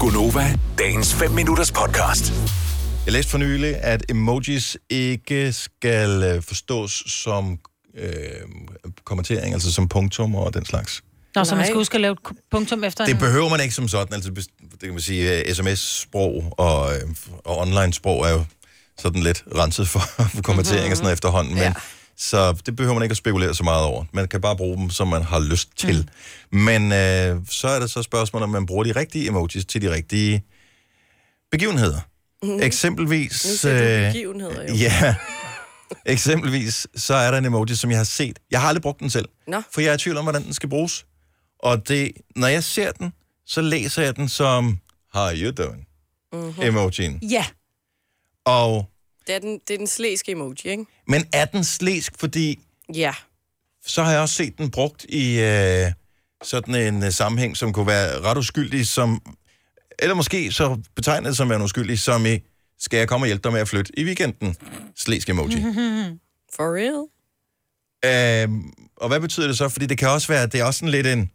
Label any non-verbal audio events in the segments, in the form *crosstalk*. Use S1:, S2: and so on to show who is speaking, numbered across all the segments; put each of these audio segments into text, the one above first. S1: Gunova, dagens 5 minutters podcast.
S2: Jeg læste for nylig, at emojis ikke skal øh, forstås som øh, kommentering, altså som punktum og den slags.
S3: Nå, så man
S4: Nej.
S3: skal huske at lave et k- punktum efter
S2: Det
S3: en...
S2: behøver man ikke som sådan. Altså, bes- det kan man sige, uh, sms-sprog og, øh, og online-sprog er jo sådan lidt renset for, *laughs* for kommentering og sådan noget efterhånden. Men,
S4: Ja.
S2: Så det behøver man ikke at spekulere så meget over. Man kan bare bruge dem, som man har lyst til. Mm. Men øh, så er der så spørgsmålet, om man bruger de rigtige emojis til de rigtige begivenheder. Mm. Eksempelvis...
S4: Nu siger du
S2: øh,
S4: begivenheder jo.
S2: Ja. Eksempelvis, så er der en emoji, som jeg har set. Jeg har aldrig brugt den selv,
S4: Nå.
S2: for jeg er i tvivl om, hvordan den skal bruges. Og det, når jeg ser den, så læser jeg den som, how you doing? Mm-hmm. Emojien.
S3: Ja.
S2: Og,
S4: Det er den, det er den slæske emoji, ikke?
S2: men er den slæsk, fordi
S4: Ja.
S2: så har jeg også set den brugt i øh, sådan en øh, sammenhæng, som kunne være ret uskyldig, som, eller måske så betegnet som værende uskyldig, som i, skal jeg komme og hjælpe dig med at flytte i weekenden? Slæsk emoji.
S4: For real?
S2: Øhm, og hvad betyder det så? Fordi det kan også være, at det er også sådan lidt en...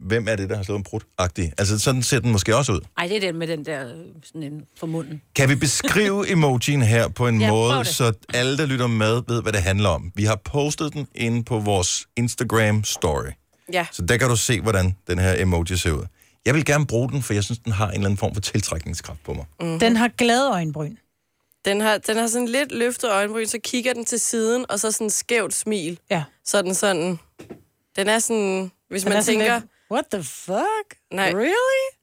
S2: Hvem er det, der har slået en brud-agtig? Altså, sådan ser den måske også ud.
S5: Ej, det er den med den der øh, sådan en for munden.
S2: Kan vi
S3: *laughs*
S2: beskrive emojien her på en
S3: Ja,
S2: ja,
S3: prøv
S2: måde,
S3: det.
S2: så alle, der lytter med, ved, hvad det handler om? Vi har postet den inde på vores Instagram-story.
S4: Ja.
S2: Så der kan du se, hvordan den her emoji ser ud. Jeg vil gerne bruge den, for jeg synes, den har en eller anden form for tiltrækningskraft på mig.
S3: Den har glade øjenbryn.
S4: Den har, den har sådan lidt løftet øjenbryn, så kigger den til siden, og så sådan skævt smil.
S3: Ja.
S4: Så er den sådan... Den er sådan... Hvis
S3: Den
S4: man
S3: er sådan
S4: tænker...
S3: Lidt, What the fuck?
S4: Nej.
S3: Really?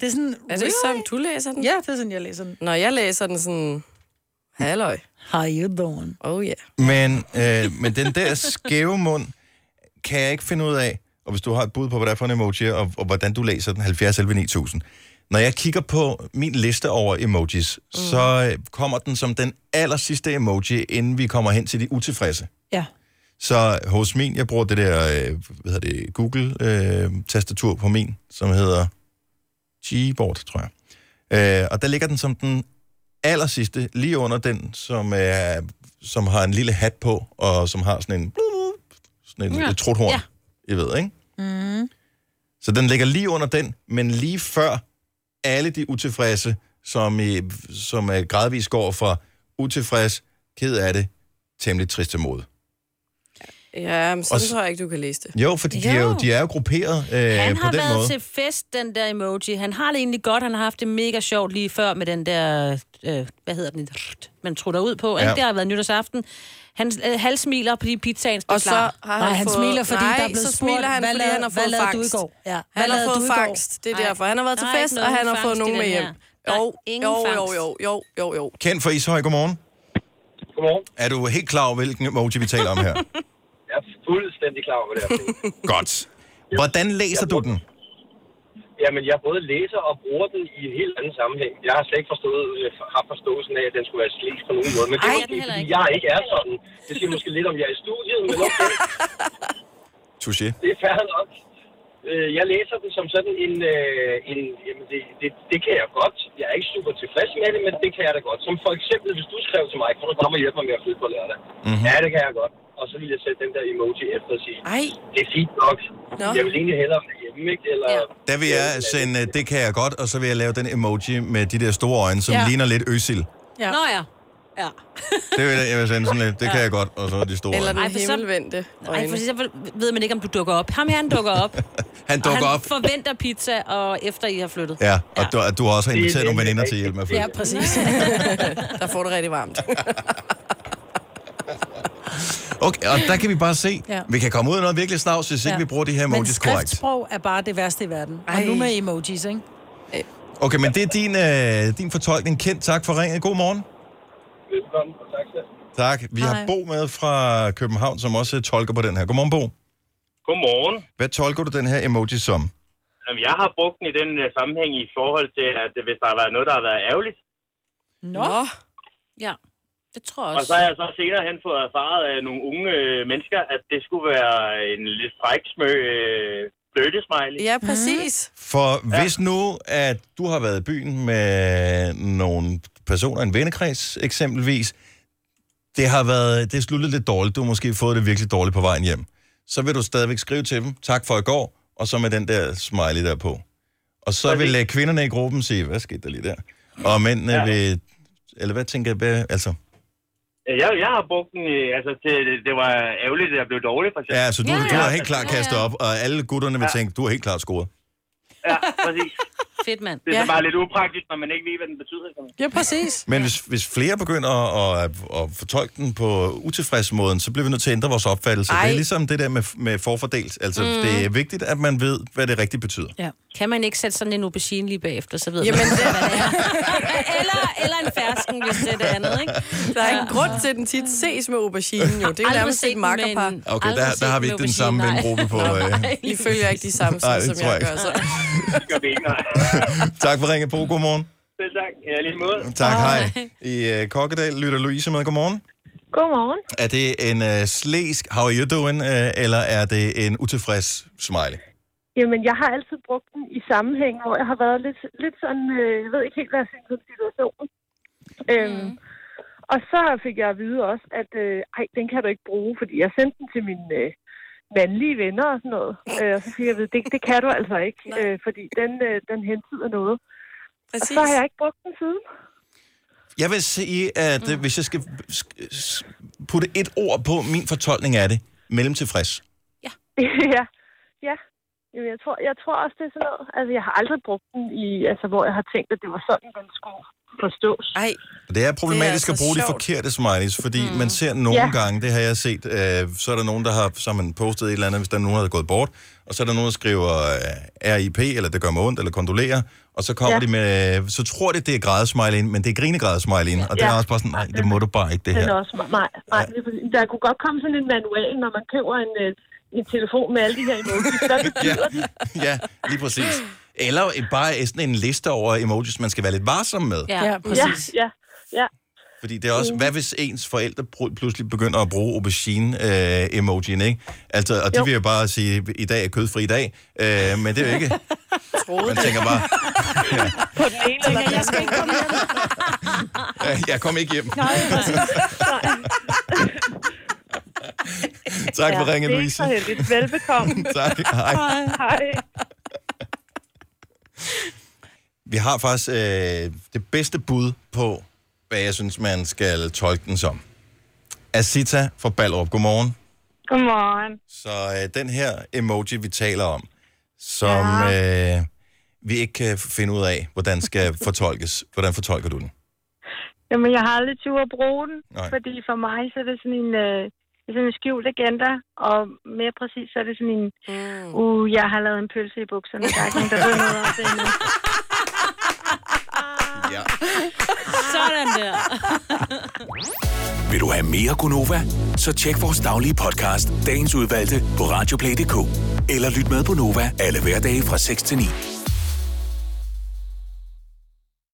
S3: Det er sådan...
S4: Er det
S3: really?
S4: really? sådan, du læser den?
S3: Ja, det er sådan, jeg læser den.
S4: Når jeg læser den sådan... Halløj.
S3: How you doing?
S4: Oh yeah.
S2: Men, øh, men den der skæve mund, kan jeg ikke finde ud af, og hvis du har et bud på, hvad der er for en emoji, og, og hvordan du læser den, 70 11 9000. Når jeg kigger på min liste over emojis, mm. så øh, kommer den som den aller sidste emoji, inden vi kommer hen til de utilfredse.
S3: Ja.
S2: Så hos min, jeg bruger det der, øh, hvad hedder det, Google-tastatur på min, som hedder Gboard, tror jeg. Øh, og der ligger den som den aller sidste, lige under den, som, er, som har en lille hat på, og som har sådan en, sådan en ja.
S5: Ja.
S2: et truthorn. Ja.
S5: Ja.
S2: Jeg ved, ikke? Mm. Så den ligger lige under den, men lige før alle de utilfredse, som, i, som øh, gradvist går fra utilfreds, ked af det, temmelig trist imod.
S4: Ja, men sådan
S2: Og s-
S4: tror jeg ikke, du kan læse det.
S2: Jo, fordi de er jo,
S5: Jo.
S2: de er jo grupperet øh,
S5: Han
S2: på
S5: har
S2: den
S5: været
S2: måde.
S5: til fest, den der emoji. Han har det egentlig godt. Han har haft det mega sjovt lige før med den der... Øh, hvad hedder den? Man trutter ud på. Ja.
S2: Ja.
S5: Ikke? Det har været nytårsaften. Han øh, halvsmiler, fordi pizzaen står
S4: Og så
S5: klar.
S4: har han
S3: Nej, han
S4: fået...
S3: smiler, fordi
S4: Nej,
S3: der er blevet
S4: så
S3: spurgt,
S4: smiler han,
S3: hvad
S4: fordi
S3: lavede-
S4: han har
S3: hvad
S4: fået
S3: lavede du i
S4: fangst.
S3: går? Ja, hvad
S4: Han har
S3: lavede du
S4: fået
S3: i går?
S4: fangst, det er
S5: Nej.
S4: derfor. Han har været til
S5: Der er
S4: fest,
S5: ikke
S4: og
S5: nogen
S4: han har fået
S5: fangst i
S4: nogen
S5: den
S4: med hjem.
S5: her. Der er
S4: Jo,
S5: ingen
S4: jo, jo,
S5: fangst.
S4: jo, jo, jo, jo.
S2: Kendt for Ishøj, godmorgen.
S6: Godmorgen.
S2: Er du helt klar over, hvilken emoji vi taler om
S6: *laughs*
S2: her?
S6: Jeg er fuldstændig klar over det her.
S2: Godt. Hvordan læser du den?
S6: Jamen, jeg både læser og bruger den i en helt anden sammenhæng. Jeg har slet ikke forstået, øh, haft forståelsen af, at den skulle være slæs på nogen måde. Men det
S5: Ej,
S6: er
S5: jeg
S6: måske,
S5: den heller
S6: fordi
S5: ikke.
S6: jeg ikke er sådan. Det siger måske lidt om, jeg er i studiet, men okay,
S2: Touché.
S6: det er fair nok. Øh, Jeg læser den som sådan en... øh, en jamen, det, det, det, kan jeg godt. Jeg er ikke super tilfreds med det, men det kan jeg da godt. Som for eksempel, hvis du skrev til mig, kan du komme og hjælpe mig med at flytte på lørdag?
S2: Mhm.
S6: Mm-hmm. Ja, det kan jeg godt. Og så vil jeg sætte den der emoji efter og sige,
S4: Ej,
S6: det er fint nok.
S4: Nå.
S6: Jeg vil egentlig hellere være hjemme, ikke? Eller,
S5: Ja.
S2: Der vil jeg sende, øh, det kan jeg godt, og så vil jeg lave den emoji med de der store øjne, som ja.
S3: Ja.
S2: ligner lidt øsil.
S4: ja.
S5: Nå ja. ja.
S2: Det vil jeg, jeg vil sende sådan lidt, det kan jeg godt, og så de store
S4: Eller
S2: øjne.
S4: den
S5: Ej, for så-
S4: himmelvendte
S5: Ej, for
S4: øjne.
S5: så ved man ikke, om du dukker op. Ham her, han dukker op.
S2: Han
S5: og
S2: *laughs* dukker
S5: han
S2: op.
S5: forventer pizza, og efter I har flyttet.
S2: Ja, og du, at du har også har
S6: Det er
S2: inviteret nogle
S6: nemlig
S2: veninder til at
S6: rigtigt.
S2: hjælpe med at
S3: Ja,
S2: flytte.
S3: præcis.
S4: *laughs* Der får det rigtig varmt.
S2: Okay, og der kan vi bare se,
S3: Ja.
S2: vi kan komme ud af noget virkelig snavs, hvis ikke
S3: Ja.
S2: vi bruger de her
S3: Men
S2: emojis korrekt.
S3: skriftsprog er bare det værste i verden. Og
S4: Ej.
S3: nu med emojis, ikke?
S2: Okay, men det er din, øh, din fortolkning. Kendt, tak for ringet. God morgen.
S6: Velkommen, og tak skal du have.
S2: Tak. Vi Hej. har
S3: Hej.
S2: Bo med fra København, som også øh, tolker på den her. Godmorgen, Bo.
S6: Godmorgen.
S2: Hvad tolker du den her emoji som?
S6: Jamen, Jeg har brugt den i den øh, sammenhæng i forhold til, at øh, hvis der har været noget, der har været ærgerligt,
S3: Nå.
S4: Nå.
S5: Ja. Det tror jeg
S6: og så
S5: også.
S6: har jeg så senere hen fået erfaret af nogle unge øh, mennesker, at det skulle være en lidt fræk smø øh, flirtesmiley.
S4: Ja, præcis.
S5: Mm.
S2: For hvis nu, at du har været i byen med nogle personer, en vennekreds eksempelvis, det har været, det er sluttet lidt dårligt, du har måske fået det virkelig dårligt på vejen hjem, så vil du stadigvæk skrive til dem, tak for i går, og så med den der smiley der på. Og så vil øh, kvinderne i gruppen sige, hvad skete der lige der? Og mændene ja. vil... Eller hvad tænker jeg? hvad- Altså,
S6: Øh, Jeg, jeg har brugt den, øh, altså det, det- det var ærgerligt, at jeg blev dårlig for eksempel.
S2: ja, så du, ja, ja. du har helt klart kastet op, og alle gutterne vil tænke, du har helt klart scoret.
S6: Ja, præcis.
S5: Fedt, mand.
S6: Det er ja.
S4: Ja.
S6: så bare lidt upraktisk, når man ikke ved, hvad den betyder. kan man sige.
S3: Ja, præcis.
S2: Men hvis, hvis flere begynder at, at, at fortolke den på utilfreds måden, så bliver vi nødt til at ændre vores opfattelse. Ej.
S4: Ej.
S2: Det er ligesom det der med, med forfordelt. Altså, mm. det er vigtigt, at man ved, hvad det rigtigt betyder.
S5: Kan man ikke sætte sådan en aubergine lige bagefter, så ved
S4: Jamen,
S5: man,
S4: det-
S5: hvad det er. *laughs* eller, eller en fersken, hvis det er det andet, ikke?
S4: Der er en grund til, at den tit ses med auberginen jo. Det er jo nærmest et makkerpar.
S2: Okay, der, der har vi ikke den samme vengruppe *laughs* på. Øh.
S4: I følger ikke de samme,
S2: Nej, det
S4: som
S2: tror
S4: jeg
S2: jeg
S4: gør.
S2: ikke.
S4: Så.
S6: Det gør vi ikke, nej.
S2: øh. *laughs* Tak for ringet på. Godmorgen.
S6: Selv tak. Ja, lige måde.
S2: Tak, hej. I uh, Kokkedal lytter Louise med. Godmorgen.
S7: Godmorgen.
S2: Er det en uh, slæsk, how are you doing, uh, eller er det en utilfreds smiley?
S7: Jamen, jeg har altid brugt den i sammenhæng, hvor jeg har været lidt, lidt sådan, øh, jeg ved ikke helt, hvad jeg synes om situationen. Øhm, mm. Og så fik jeg at vide også, at øh, ej, den kan du ikke bruge, fordi jeg sendte den til mine øh, mandlige venner og sådan noget. Øh, og så fik jeg at vide, det, det kan du altså ikke,
S4: Nej.
S7: øh, fordi den, øh, den hentyder noget. Og
S4: Præcis.
S7: så har jeg ikke brugt den siden. *laughs*
S2: Jeg vil sige, at mm. hvis jeg skal sk- s- putte et ord på min fortolkning af det, mellem tilfreds.
S7: ja, ja. Jamen, jeg, tror, jeg tror også, det er sådan noget. Altså, jeg har aldrig brugt den i, altså, hvor jeg har tænkt, at det var sådan, den skulle forstås.
S4: Ej,
S2: Det er problematisk
S4: Det er
S2: at
S4: altså
S2: bruge de
S4: sjovt.
S2: forkerte smileys, fordi mm. man ser nogle ja.
S7: Ja.
S2: gange, det har jeg set, øh, så er der nogen, der har, så har man postet et eller andet, hvis der er nogen, der er gået bort, og så er der nogen, der skriver øh, RIP, eller det gør mig ondt, eller kondolerer, og så kommer ja.
S7: Ja.
S2: de med, så tror de, det er grædesmileyen, men det er grinegrædesmileyen, og det
S7: Ja.
S2: er også bare sådan, nej, det må du bare ikke, det
S7: Den
S2: her.
S7: er også meget, meget, meget ja. Der kunne godt komme sådan en manual, når man køber en, øh, en telefon med alle de her emojis. Hvad
S2: *laughs*
S7: betyder det?
S2: ja, lige præcis. Eller øh, bare sådan en liste over emojis, man skal være lidt varsom med.
S5: Ja.
S3: Ja,
S5: ja.
S7: Ja,
S3: præcis.
S7: ja, ja.
S2: Fordi det er også, hvad hvis ens forældre pr- pludselig begynder at bruge aubergine-emojien, ikke? Altså, og de
S7: Jo.
S2: vil jo bare sige, i dag er kødfri dag, øh, men det er jo ikke... Man tænker bare,
S7: *laughs* På den ene eller den
S3: Jeg skal ikke komme hjem.
S2: "Ja, jeg kom ikke hjem.
S3: Nej, præcis.
S2: *laughs* tak for ringen,
S7: Det er ikke
S2: Louise.
S7: så heldigt. Velbekomme.
S2: *laughs* tak, hej.
S7: Hej.
S2: Vi har faktisk øh, det bedste bud på, hvad jeg synes, man skal tolke den som. Asita fra Ballerup, godmorgen.
S7: Godmorgen.
S2: Så øh, den her emoji, vi taler om, som ja. øh, vi ikke kan finde ud af, hvordan skal fortolkes. Hvordan fortolker du den?
S7: Jamen, jeg har aldrig tur at bruge den,
S2: Nej.
S7: fordi for mig så er det sådan en, øh, det er sådan en skjult agenda, og mere præcis så er det sådan en, uh, jeg har lavet en pølse i bukserne, der er ikke nogen, der ved noget om det endnu.
S2: Ja.
S5: Sådan der.
S1: Vil du have mere Gunova? Så tjek vores daglige podcast, dagens udvalgte, på radioplay.dk. Eller lyt med på Nova alle hverdage fra 6 til 9.